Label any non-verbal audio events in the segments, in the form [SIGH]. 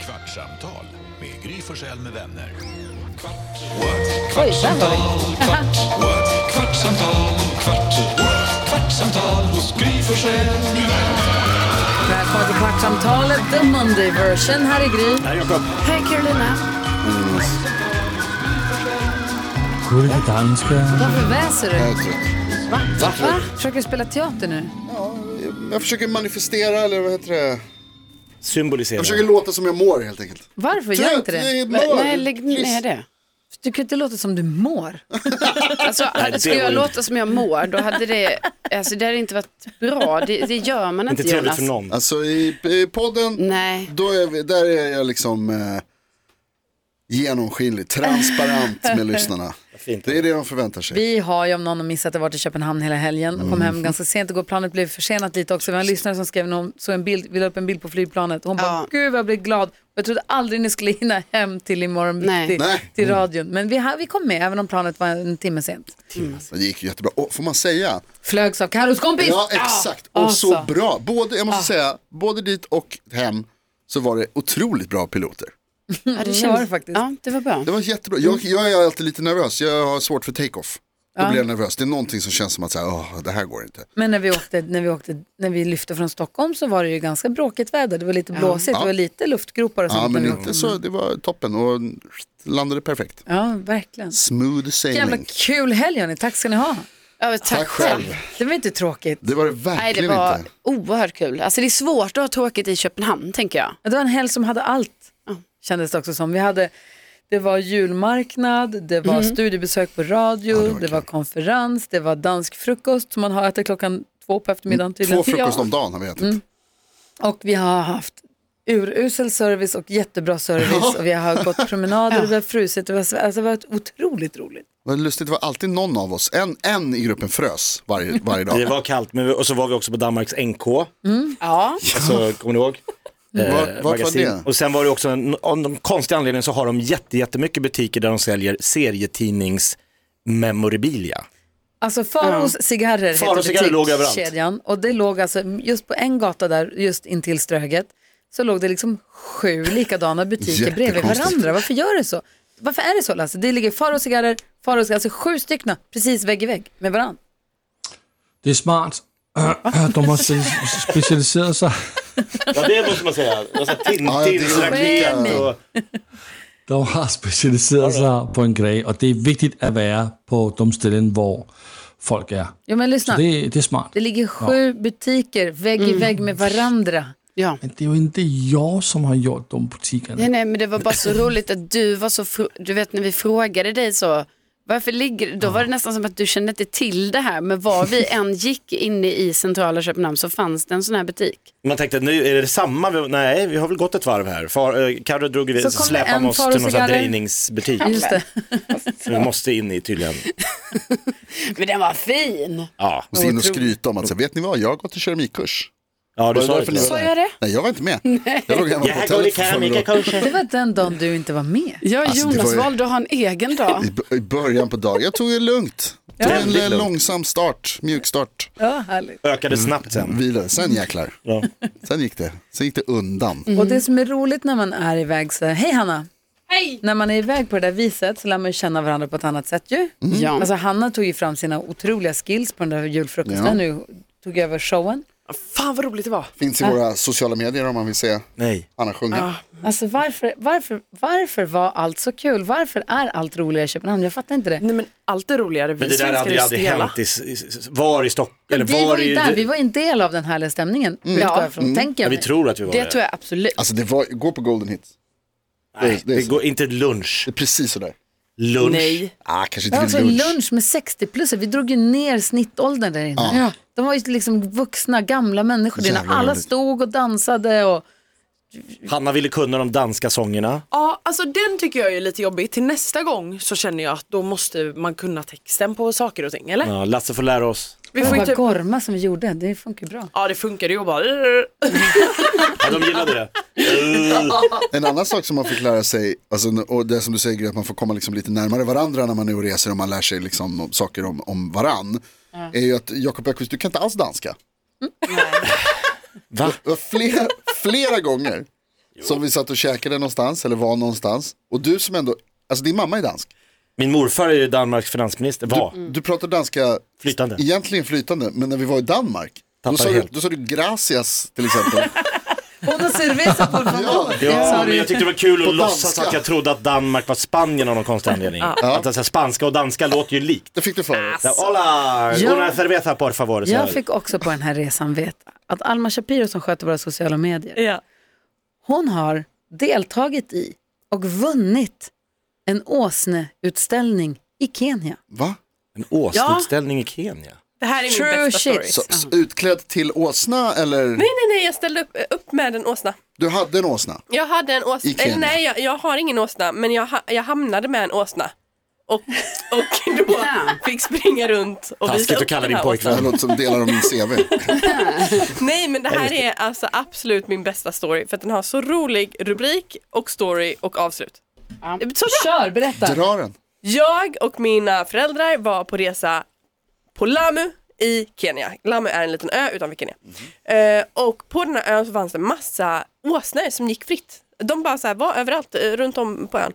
Kvartsamtal med Gry Forssell med vänner. Oj, där var vi. Kvartsamtal, kvart, what? kvartsamtal hos Gry Forssell med vänner. Välkomna till Kvartsamtalet, the Monday version. Här är Gry. Hej Jakob. Hej Carolina. Gullige danska. Varför väser du? Va? Va? Försöker du spela teater nu? Jag försöker manifestera eller vad heter det? Symbolisera. Jag försöker låta som jag mår helt enkelt. Varför? Gör inte jag det. är mör. Nej, lägg ner det. Du kan inte låta som du mår. Alltså, det skulle var jag ju- låta som jag mår, då hade det, alltså, det hade inte varit bra. Det, det gör man inte, Inte trevligt Jonas. för någon. Alltså i, i podden, Nej. då är vi, där är jag liksom eh, genomskinlig, transparent med lyssnarna. Fint. Det är det de förväntar sig. Vi har ju om någon har missat det varit i Köpenhamn hela helgen och kom Mm. hem ganska sent igår. Planet blev försenat lite också. Vi har en lyssnare som skrev någon, så en bild, vi la upp en bild på flygplanet. Hon bara, Ja. gud vad jag blev glad. Jag trodde aldrig ni skulle hinna hem till imorgon Nej. bitti Nej. Mm. till radion. Men vi, har- vi kom med även om planet var en timme sent. Alltså, Det gick ju jättebra. Och, får man säga? Flögs av Carros kompis. Ja, exakt. Och så Alltså. bra. Både, jag måste säga, både dit och hem så var det otroligt bra piloter. Ja, det, var det faktiskt. Ja, det var bra. Det var jättebra. Jag, jag är alltid lite nervös. Jag har svårt för take-off. Då blir jag nervös. Det är någonting som känns som att så här, "Åh, det här går inte. Men när vi, åkte, när, vi åkte, när vi lyfte från Stockholm så var det ju ganska bråkigt väder. Det var lite blåsigt, det var lite luftgropar och sånt. Ja, men när vi inte åkte. så. Det var toppen och landade perfekt. Ja, verkligen. Smooth Jävla sailing. kul helg hörni, tack ska ni ha. Ja, men tack, Tack själv. Det var inte tråkigt. Det var det Nej, det verkligen var inte. oerhört kul. Alltså, det är svårt att ha tråkigt i Köpenhamn, tänker jag. Det var en helg som hade allt, Ja. kändes det också som. Vi hade, det var julmarknad, det var studiebesök på radio, det, var konferens, det var dansk frukost som man har ätit klockan två på eftermiddagen tydligen. Mm, Två frukost Ja. om dagen har vi Mm. ätit. Och vi har haft urusel service och jättebra service och vi har gått promenader, [LAUGHS] och vi har frusit, och vi har, sve- alltså, det har varit otroligt roligt. Det var lustigt, det var alltid någon av oss, en, en i gruppen frös varje, varje dag. Det var kallt, men vi, och så var vi också på Danmarks NK. Ja, Alltså, kommer ni ihåg? Eh, Vart- vart var magasin. det? Och sen var det också, en, av någon konstig anledning så har de jätte, jättemycket butiker där de säljer serietidnings memorabilia. Alltså Faraos cigarrer Faraos cigarrer låg överallt. butikskedjan och det låg alltså just på en gata där just intill Ströget så låg det liksom sju likadana butiker bredvid Jättekonstigt. varandra. Varför gör det så? Varför är det så Lasse? Det ligger Faraos cigarrer, Faraos alltså sju stycken precis vägg i vägg med varandra. Det er smart. De har se- specialiseret sig. Ja, det måste man säga. alltså, Ja, det är- Tintin-raketer och... De har specialiseret sig på en grej, og det er vigtigt at være på de ställen, hvor folk er. Jo men Så lyssna, det... det, det er smart. ligger sju butiker vägg i vägg med varandra. ja. Mm. Men det er jo ikke jeg, som har gjort de butikkerne. Nej, nej, men det var bara så roligt att du var så, fr- du vet när vi frågade dig så, varför ligger, då var det nästan som att du kände inte till det här, men var vi än gick inne i centrala Köpenhamn så fanns det en sån här butik. Man tänkte, nu är det samma? Vi- Nej, vi har väl gått ett varv här. Far, eh, Carro drog iväg, Så så kom det släpade en han oss Faro till någon sån här cigarrer. drejningsbutik. Just det. Vi måste in i tydligen. Men den var fin. Ja, Och så in och skryta om att, så, här, vet ni vad, jag har gått en keramikkurs. ja du Var det sa därför det. ni Sa jag det? Nej, jag var inte med. Jag låg hemma på Jag går i hotellet för full lön. keramikakurser. Det var den dagen du inte var med. Ja, Alltså, det Jonas var ju- Mm. valde att ha en egen dag. I b- I början på dagen, jag tog det lugnt. Tog en Väldigt eh, lugnt. långsam start, mjuk start, Ja, härligt. Ökade snabbt sen. vilade, sen jäklar. Ja. Sen gick det, sen gick det undan. Och det som är roligt när man är iväg så här, hej Hanna. Hej! När man är iväg på det där viset så lär man ju känna varandra på ett annat sätt ju. Mm. Ja. Alltså Hanna tog ju fram sina otroliga skills på den där julfrukosten Ja. nu tog jag över showen. Alltså, Fan vad roligt det var. Finns i våra sociala medier om man vill se Nej. Anna sjunga. Alltså varför, varför, varför var allt så kul? Varför är allt roligare i Köpenhamn? Jag fattar inte det. Nej men allt är roligare, vi Men det där svenskar hade är ju ju aldrig stela. hänt i, i- i- var i Stockholm, eller vi var var ju i... där, vi var ju en del av den härliga stämningen. Ja. Från, tänker ja, jag vi mig. tror att vi var Det där. tror jag absolut. Alltså det var, gå på Golden Hits. Nej, det är det så. går inte lunch. Det är precis sådär. Lunch. Nej, Ah, kanske Det inte var alltså vid lunch. lunch med 60-plussare. Vi drog ju ner snittåldern där inne. Ja. De var ju liksom vuxna, gamla människor. där inne. Jävlar, Alla roligt. stod och dansade och Hanna ville kunna de danska sångerna. ja alltså den tycker jag är lite jobbig. Till nästa gång så känner jag att då måste man kunna texten på saker och ting, eller? Ja, Lasse får lära oss. Vi Det får var typ- inte... gorma som vi gjorde, det funkar ju bra. Ja det funkar ju att [LAUGHS] bara... Ja, de gillade det. En annan sak som man fick lära sig, alltså, och det som du säger Gry, att man får komma liksom lite närmare varandra när man är och reser och man lär sig liksom om- saker om, om varann. Är ju att Jakob Öqvist, du kan inte alls danska. Va? Det var Fler, flera gånger Som vi satt och käkade någonstans eller var någonstans. Och du som ändå, alltså din mamma är dansk. Min morfar är ju Danmarks finansminister, var Du pratar danska flytande. egentligen flytande, men när vi var i Danmark, då Tappar sa, du, helt. då sa du gracias till exempel. Båda cerveza por favor. Ja, men jag tyckte det var kul På att låtsas danska. att jag trodde att Danmark var Spanien av någon konstig anledning. Att alltså, spanska och danska låter ju likt. det fick du för dig. Så, Hola, Ja. una cerveza por favor. Så här. Jag fick också på den här resan veta att Alma Shapiro som sköter våra sociala medier, Ja. hon har deltagit i och vunnit en åsneutställning i Kenya. Va? En åsneutställning i Kenya. Det här är min True bästa shit. story. Så, s- utklädd till åsna eller? Nej, nej, nej, jag ställde upp, eh, upp med en åsna. Du hade en åsna? Jag hade en åsna, I Kenya. eh, nej jag, jag har ingen åsna, men jag, ha, jag hamnade med en åsna. Och, och då fick springa runt och visa Taskigt upp att kalla den din här pojkvän. Det här låter som delar av min CV. Nej men det här är alltså absolut min bästa story för att den har så rolig rubrik och story och avslut. Det är så bra. Kör, berätta. Dra den. Jag och mina föräldrar var på resa på Lamu i Kenya. Lamu är en liten ö utanför Kenya. Eh, och på den här ön så fanns det massa åsnor som gick fritt. De bara så här var överallt eh, runt om på ön.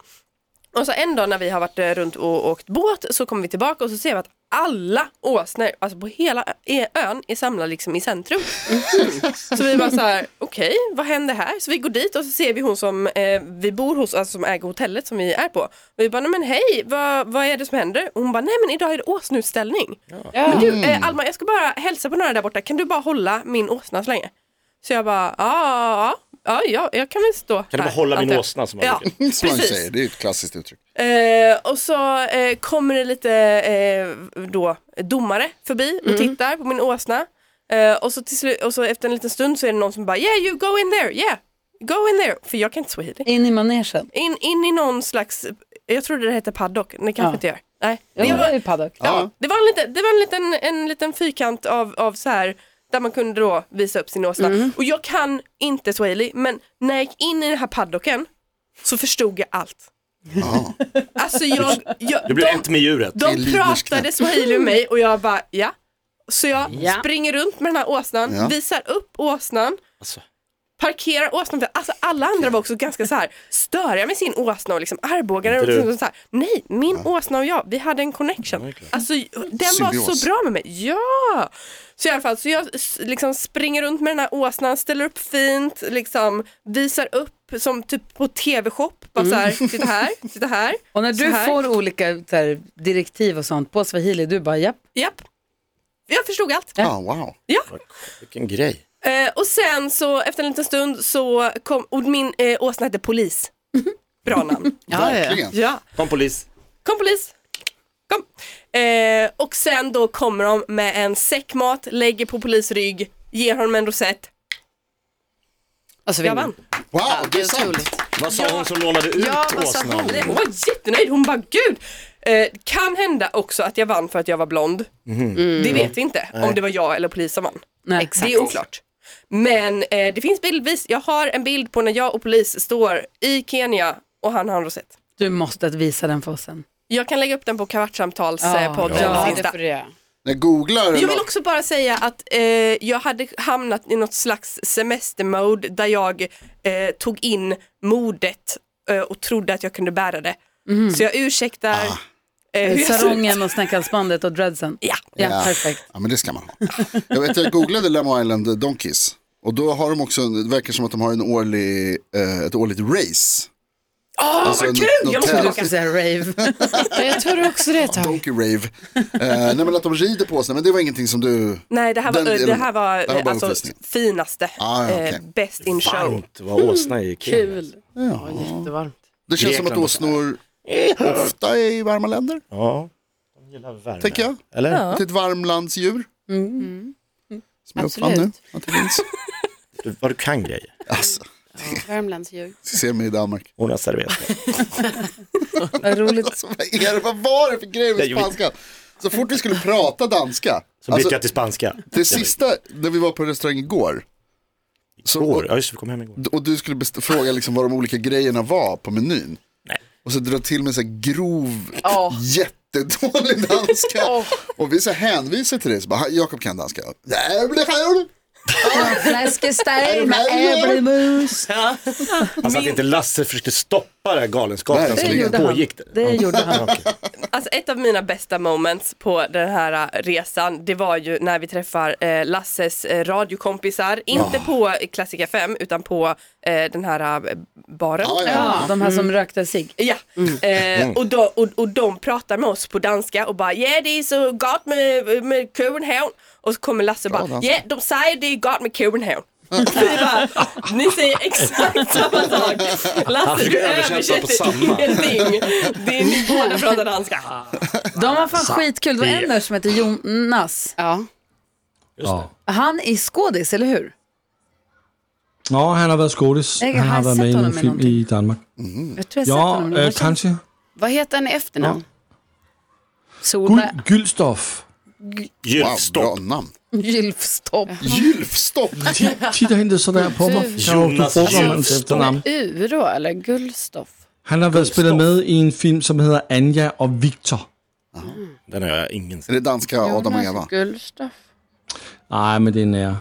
Och så en dag när vi har varit eh, runt och åkt båt så kommer vi tillbaka och så ser vi att alla åsnor, alltså på hela ö- e- ön, är samlade liksom i centrum. Så vi bara så här, okej, vad händer här? Så vi går dit och så ser vi hon som eh, vi bor hos, alltså som äger hotellet som vi är på. Och vi bara, nej men hej, vad, vad är det som händer? Och hon bara, nej men idag är det åsneutställning. Men du, Mm. eh, Alma, jag ska bara hälsa på några där borta, kan du bara hålla min åsna så länge? Så jag bara, ja, ja, ja, ja, jag kan väl stå Kan du bara här, hålla min antar jag." åsna som jag Ja, brukar? Mm, Som man precis. säger, det är ju ett klassiskt uttryck. Eh, och så eh, kommer det lite eh, då, domare förbi och tittar på min åsna. Eh, och, så till slu- och så efter en liten stund så är det någon som bara yeah you go in there, yeah, go in there. För jag kan inte swahili. In i manegen. In, in i någon slags, jag trodde det hette paddock, men det kanske Ja. inte gör. Nej. Det var ju paddock. Ja, det var en liten, det var en liten, en liten fyrkant av, av så här där man kunde då visa upp sin åsna. Och jag kan inte swahili, men när jag gick in i den här paddocken så förstod jag allt. Alltså jag, jag, Du blir ett med djuret. Det är de Lidners pratade swahili med mig och jag bara ja. Så jag Ja. springer runt med den här åsnan, Ja. visar upp åsnan, Alltså. parkerar åsnan. Alltså alla andra var också ganska så här störiga med sin åsna och liksom armbågar den. Och Inte du? liksom så här, nej, min åsna och jag, vi hade en connection. Alltså den var Symbios. så bra med mig. Ja! Så i alla fall, så jag s- liksom springer runt med den här åsnan, ställer upp fint, liksom visar upp som typ på tv-shop, bara så här, titta här, titta här. Och när så du här. får olika så här, direktiv och sånt på swahili, du bara japp. Japp. Jag förstod allt. Ah, wow. Ja. Vilken grej. Eh, och sen så efter en liten stund så kom, och min eh, åsna hette Polis. Bra namn. Verkligen. ja. Kom polis. Kom polis! Kom! Eh, och sen då kommer de med en säck mat, lägger på polis rygg, ger honom en rosett. Alltså, Jag vann. Wow, det det är är sant. otroligt. Vad sa hon som lånade ut Ja, vad sa åsnan? hon? Hon var jättenöjd, hon bara gud! Eh, kan hända också att jag vann för att jag var blond. Det vet vi inte om det var jag eller polis som vann. Nej. Det är oklart. Men eh, det finns bildvis, jag har en bild på när jag och polis står i Kenya och han har en rosett. Du måste att visa den för oss sen. Jag kan lägga upp den på Ja, Kvartsamtalspodden. ja. Ja, det får du göra. När jag googlar, Jag vill också bara säga att eh, jag hade hamnat i något slags semestermode där jag eh, tog in modet eh, och trodde att jag kunde bära det. Så jag ursäktar Ah, eh, hur jag ser ut. Sarongen och snäckalsbandet och dreadsen. Ja. Ja, Ja. [LAUGHS] perfekt. ja men det ska man ha. Jag vet, jag googlade Lemon Island Donkeys. Och då har de också, en- det verkar som att de har en årlig, eh, ett årligt race. Åh, Alltså, vad en- kul! någon Jag måste tävling. Du åka. skulle säga rave. Jag tror också det ett Donkey rave. Eh, nej men att de rider på sig, men det var ingenting som du... Nej, det här var, Den eh, det delen- här var, det här var eh, bara alltså uppvisningen. finaste, Ah, ja, okej. eh, best in show. Varmt var åsna i Kenya. Kul. Ja. Jättevarmt. Det känns som att Grekland och åsnor ofta är i varma länder, Ja, de gillar värme. tänker jag. Eller? Det är ett varmlandsdjur. Som jag uppfann nu, Absolut. att det finns. Du, vad du kan grejer. Alltså, Värmlandsdjur. se mig i Danmark. Una cerveza. Vad roligt. Alltså, vad, är det, vad var det för grej med Nej, jag vet- spanskan? Så fort vi skulle prata danska, Så bytte alltså, jag till spanska. det sista, när vi var på en restaurang igår, så- Igår, ja just det, vi kom hem igår. och du skulle best- fråga liksom vad de olika grejerna var på menyn. Nej. Och så drar till med så här grov, [LAUGHS] jättedålig danska. Och vi så hänvisar till det, så bara, Jakob kan danska. Nej, men det kan jag. Fläskesteg med äppelmos. Alltså att inte Lasse försökte stoppa det här galenskapen Det som gjorde han. pågick. där. Det gjorde han. Alltså ett av mina bästa moments på den här eh, resan, det var ju när vi träffar eh, Lasses eh, radiokompisar, Ah. inte på Klassik FM utan på eh, den här eh, baren. Ah, Ja, ja. Ja, de här som rökte cigg. Ja, Mm. eh, och, då, och, och de pratar med oss på danska och bara yeah det är så gott med, med Köpenhamn. Och så kommer Lasse och bara danska. yeah de säger det är gott med Köpenhamn. Vi bara, ni säger exakt [LAUGHS] samma sak. Lasse du försöker översätta på översätter samma. ingenting. Det [LAUGHS] är ni båda pratar danska. De var fan skitkul. Det var en där som hette Jonas. Ja. Ja. Han är skådis, eller hur? Nå, han har været skådis. Jeg Han har har været set med i honom nogle i film nogle i Danmark. Jag tror jag har sett Ja, honom. eh, men jag øh, känner- kanskje. Vad heter han i efternamn? Solberg. Guld, gyldstof. Wow, bra Gylfstopp. namn. Gylfstopp. Gylfstopp! Tit- Tit har hentet sådan på mig. Gylf- Så du Jonas bruger man Gylfstof. efternavn. U då, eller Gullstoff? Han har været spillet med i en film, som hedder Anja og Victor. Den har jag ingen sett. Är det danska Adam och Eva? Gullstoff. Nej, men det er nære.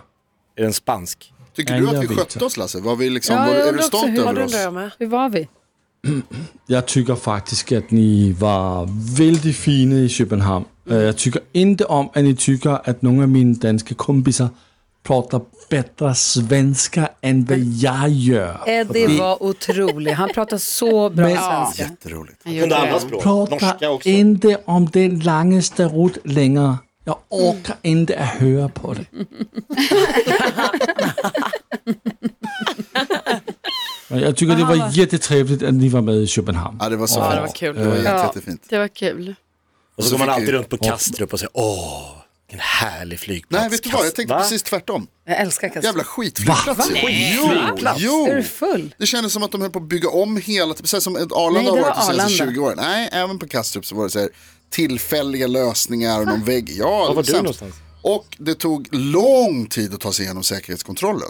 Är den spansk? Tycker Nej, du jag att vi vet skötte inte. oss Lasse? Var vi liksom, Ja, var, jag är du undrar också stolt hur- Ja, det över oss? undrar jag med. Hur var vi? Jeg tykker faktisk, at ni var vældig fine i København. Øh, Jeg tykker ikke om, at ni tykker, at nogle af mine danske kompiser prater bedre svenska, end hvad jeg gør. Eddie var otrolig. Han pratar så bra Men- svenska. Jätteroligt. Han Kunde gjorde andra det. språk? Norska Prater också? ikke om den lange starut længere. Jeg orker ikke at høre på det. Men jeg tykker, det var jättetrevligt, at ni var med i København. Ja, det var så Ja, fint. det var kul. Det var jätte, Ja. jättefint. Det var kul. Och så går man fick alltid vi- runt på Kastrup och säger åh, vilken härlig flygplats. Nej, vet du vad? Jag Kast- tänkte Va? precis tvärtom. Jag älskar Kastrup. Jävla skitflygplats. ju. Jo, Är jo. du full? Det kändes som att de höll på att bygga om hela, precis som ett Arlanda Nej, det har var varit de senaste Arlanda. 20 åren. Nej, även på Kastrup så var det så här tillfälliga lösningar och någon vägg. Ja, det var du sämst. någonstans? Och det tog lång tid att ta sig igenom säkerhetskontrollen.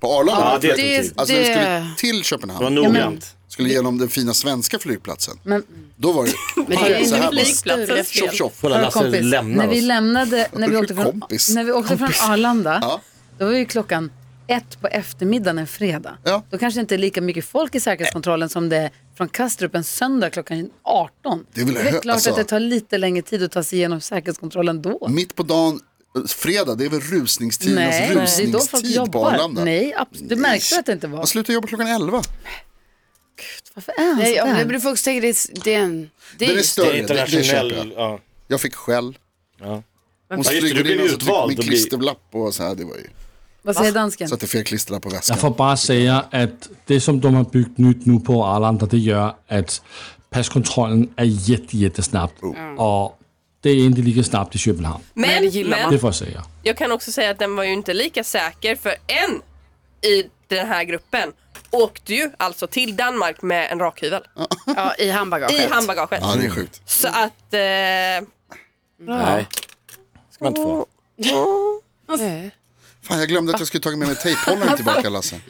På Arlanda. Ja, det, Det, det, Alltså när vi skulle det, till var Köpenhamn, noggrant. skulle genom den fina svenska flygplatsen. Men Då var det, men det är så inte här bara, flygplatsens tjoff fel. tjoff. Kolla, hör, Lasse kompis, lämnar när vi oss. lämnade, när vi åkte från, Kompis. när vi åkte från Arlanda, Ja. då var ju klockan ett på eftermiddagen en fredag. Ja. Då kanske inte är lika mycket folk i säkerhetskontrollen som det är från Kastrup en söndag klockan 18. Det är väl hö- klart alltså- att det tar lite längre tid att ta sig igenom säkerhetskontrollen då. Mitt på dagen, eh, fredag, det är väl rusningstidernas det är då folk rusningstid på Arlanda. jobbar. Nej, abs- du märkte att det inte Man var. slutar jobba klockan 11. Varför är han Nej, ja, sådär? men det, folk tänker det, är- det är en... Det Den är är just, Det är större, det, det köper jag. internationell. Ja. Jag fick skäll. Hon Ja, just det, smyger du blev in och så trycker utvald min och blir- klisterlapp och så här, det var ju. Vad säger dansken? Så att det är fel klisterlapp på väskan. Jeg får bare sige, at det, som de har bygget nyt nu på Arlanda, det gør, at paskontrollen er jette, jette snabt. Uh. Og det er ikke lige snabt i København. Men, men Det får jeg sige. jag kan också säga att den var ju inte lika säker för en i den här gruppen åkte ju alltså till Danmark med en rakhyvel ja, i handbagaget. i handbagaget. Ja, det är sjukt. Så att... Eh, Nej, ska man inte få. Fan, jag glömde att jag skulle tagit med mig tejphållaren tillbaka, Lasse.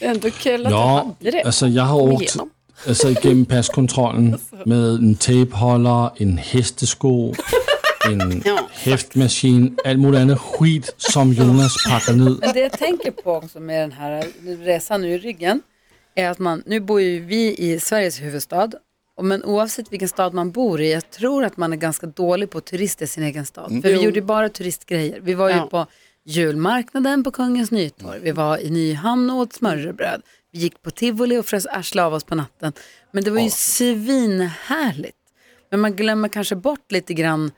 Ändå kul att Ja, du hade det. altså jeg har åkt igennem. altså, igennem [LAUGHS] paskontrollen med en tapeholder, en hestesko, [LAUGHS] en hæftmaskine, alt muligt andet skit, som Jonas pakker ned. Men det jag tänker på också med den här resan nu i ryggen är att man, nu bor ju vi i Sveriges huvudstad, och men oavsett vilken stad man bor i, jag tror att man är ganska dålig på att turista i sin egen stad. För vi gjorde ju bara turistgrejer. Vi var ju Ja. på julmarknaden på Kungens Nytorg, vi var i Nyhamn och åt smörrebröd, vi gick på tivoli och frös arsle av oss på natten. Men det var ju svinhärligt. Men man glömmer kanske bort lite grann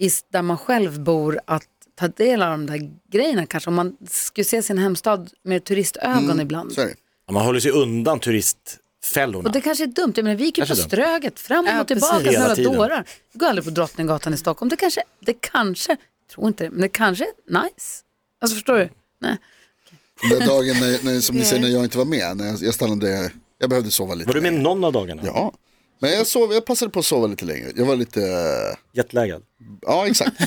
i, där man själv bor att ta del av de där grejerna kanske. Om man skulle se sin hemstad med turistögon Mm, ibland. Så är det. Ja, Man håller sig undan Och turistfällorna. det kanske är dumt. Jag menar, vi gick ju på Kanske dumt. Ströget fram och Ja, tillbaka precis. som Hela några tiden. dårar. Vi går aldrig på Drottninggatan i Stockholm. Det kanske, det kanske, jag tror inte det, men det kanske är nice. Alltså förstår du? Nej. Den där dagen när, när, som ni säger när jag inte var med, när jag, jag stannade, jag behövde sova lite. Var du med längre. någon av dagarna? Ja. Men jag, sov, jag passade på att sova lite längre. Jag var lite, eh, Jetlaggad? ja exakt.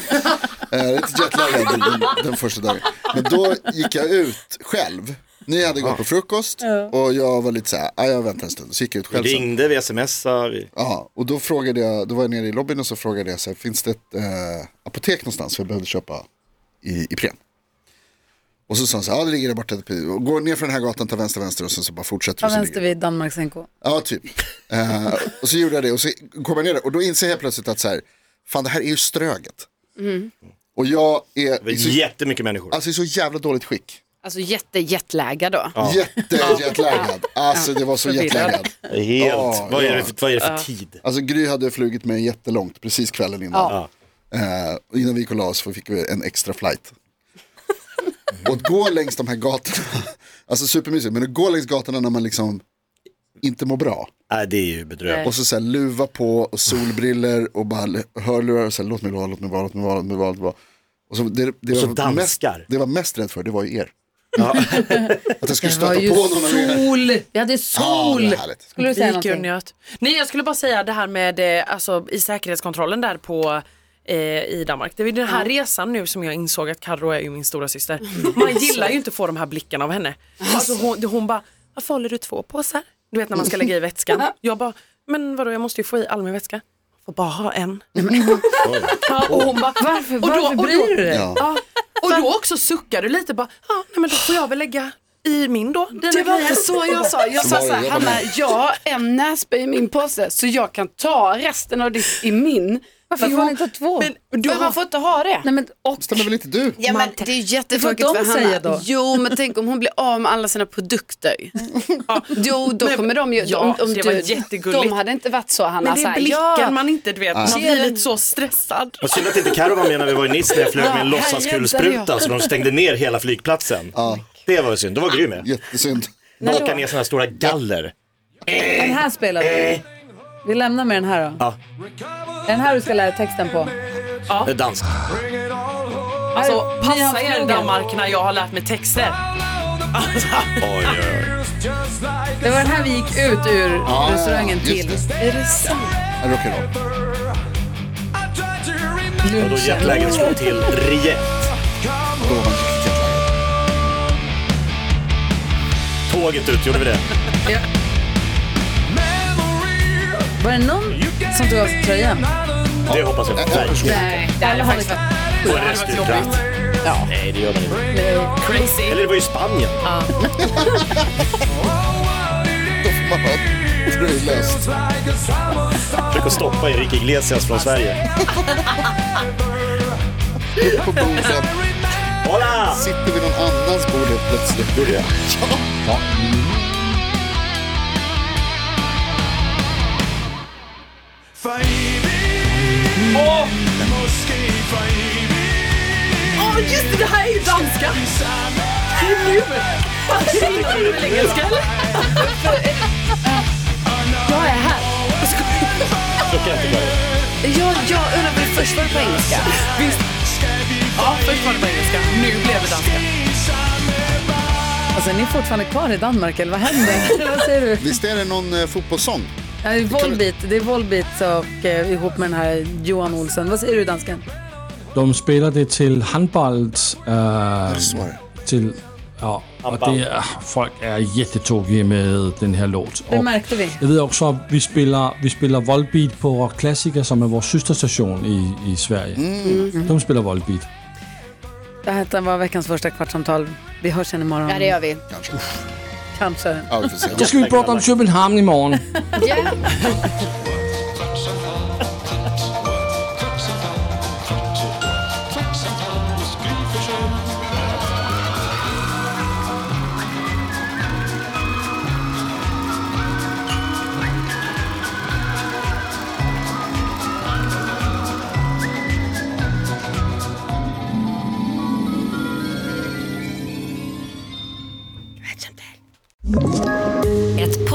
eh, lite jetlaggad den, den första dagen. Men då gick jag ut själv. Ni hade Ah. gått på frukost och jag var lite så här, "Ah, jag väntar en stund. Så gick jag ut Vi själv. sen. ringde, vi smsade. Vi... Ja, och då frågade jag, då var jag nere i lobbyn och så frågade jag så här, finns det ett eh, apotek någonstans för jag behövde köpa i, i Ipren? Och så sa han så här, ja det ligger där borta. Och Går ner för den här gatan, tar vänster, vänster och sen så bara fortsätter Ta och så vänster ligger- vid Danmarks NK. Ja, typ. Eh, och så gjorde jag det och så kom jag ner där och då inser jag plötsligt att så här, fan det här är ju Ströget. Och jag är, Det i är så, jättemycket människor. alltså, i så jävla dåligt skick. Alltså jätte jetläge då. Jätte jetlaggad. Alltså det var så Förvirrad. jetlaggad. Helt. Ja, vad, är ja. det för, vad är det för tid? Alltså Gry hade flugit mig jättelångt precis kvällen innan. Eh, och innan vi gick och la oss fick vi en extra flight. och att gå längs de här gatorna, [LAUGHS] alltså supermysigt, men att gå längs gatorna när man liksom inte mår bra. Nej, det är ju bedrövligt. Och så, så här, luva på och solbriller och bara l- hörlurar och så här, låt mig vara, låt mig vara, låt mig vara, låt mig vara. Låt mig vara. Och så, det, det, Och så var mest, danskar. det var mest rädd för, det var ju er. [LAUGHS] att jag skulle Det var stöta på ju någon av er. sol. Vi hade Ja, sol. det är härligt. Skulle du Det säga gick ju och någonting? njöt. Nej jag skulle bara säga det här med eh, alltså, i säkerhetskontrollen där på eh, i Danmark. Det är ju den här resan nu som jag insåg att Carro är ju min stora syster. Mm. Man gillar ju inte att få de här blickarna av henne. Alltså, hon, hon bara, varför håller du två påsar? Du vet när man ska lägga i vätskan. Jag bara, men vadå jag måste ju få i all min vätska. Får bara ha en. Ja, och hon bara, Varför, Och då- varför och då- bryr du dig? Ja. Ja. Och då också suckar du lite bara, ja nej men då får jag väl lägga i min då. Dina Det var grejer." inte så jag sa. Jag sa Var det? så här, Jag var med. Hanna, Äh, jag har en nässpray i min påse så jag kan ta resten av ditt i min. Varför får man inte ha två? Men du Men man har får inte ha det. Nej, men, och, Stämmer väl inte du? Ja, men det är ju jättetråkigt Det får för de Hanna. säga då. Jo, men tänk om hon blir av med alla sina [LAUGHS] produkter. Jo, då kommer de ju... Ja, om, om det var du, jättegulligt. De hade inte varit så, Hanna. Men det så är här, blicken man inte, du vet, man blir Tjejer- lite så stressad. Och synd att inte Carro var med när vi var i Nice när jag flög med en Ja, här låtsaskulspruta räddade så de stängde ner hela flygplatsen. Det var ju synd, då var Gry med. Jättesynd. Åka ner sådana här stora galler. Den här spelar vi. Vi lämnar med den här då. Ja. Är den här du ska lära texten på? Det är Dansk. Alltså, Här, ni har passa er frågan. Danmark när jag har lärt mig texter. Oj, oj, oj. Det var den här vi gick ut ur Ja, restaurangen just till. det. Är det sant? Ja, Rock'n'roll. Och då jetlagen slår till rejält. Då var man riktigt jävla- Tåget ut, gjorde vi det? Var det någon som tog av sig tröjan? Det hoppas jag En- en verkligen. person. Nej, det hade faktiskt varit... På en restaurang. Nej, det gör man inte. Crazy. Eller det var ju Spanien. Då får man ha tröjlöst. Försök att stoppa Enrique Iglesias från Sverige. På borden Hola! sitter vid någon annans bord helt plötsligt. Gjorde jag. Ja. Åh just det, det här är ju danska. Det är nu. Det är inte engelska eller? Jag är här. Så kan jag inte göra. Jag, jag undrar väl först var det på engelska? Ja, först var det på engelska. Nu blev det danska. Alltså, är ni fortfarande kvar i Danmark eller vad [LAUGHS] händer? vad säger du? Visst är det någon eh, fotbollssång? Ja, det är Volbeat, det är Volbeat och eh, ihop med den här Johan Olsen. Vad säger du dansken? De spiller det til handbold. Øh, Så är det. til, ja, og det er, folk er jättetokige med den her låt. Det Og märkte vi. jeg ved også, at vi spiller, vi spiller Volbeat på Rock Classica, som er vores søsterstation i, i Sverige. De spiller Volbeat. Det här var veckans första kvartsamtal. Vi hörs igen imorgon. Ja, det gör vi. Kanske. Ja, vi får se. Så skal vi prøve om København i morgen. Ja. Ett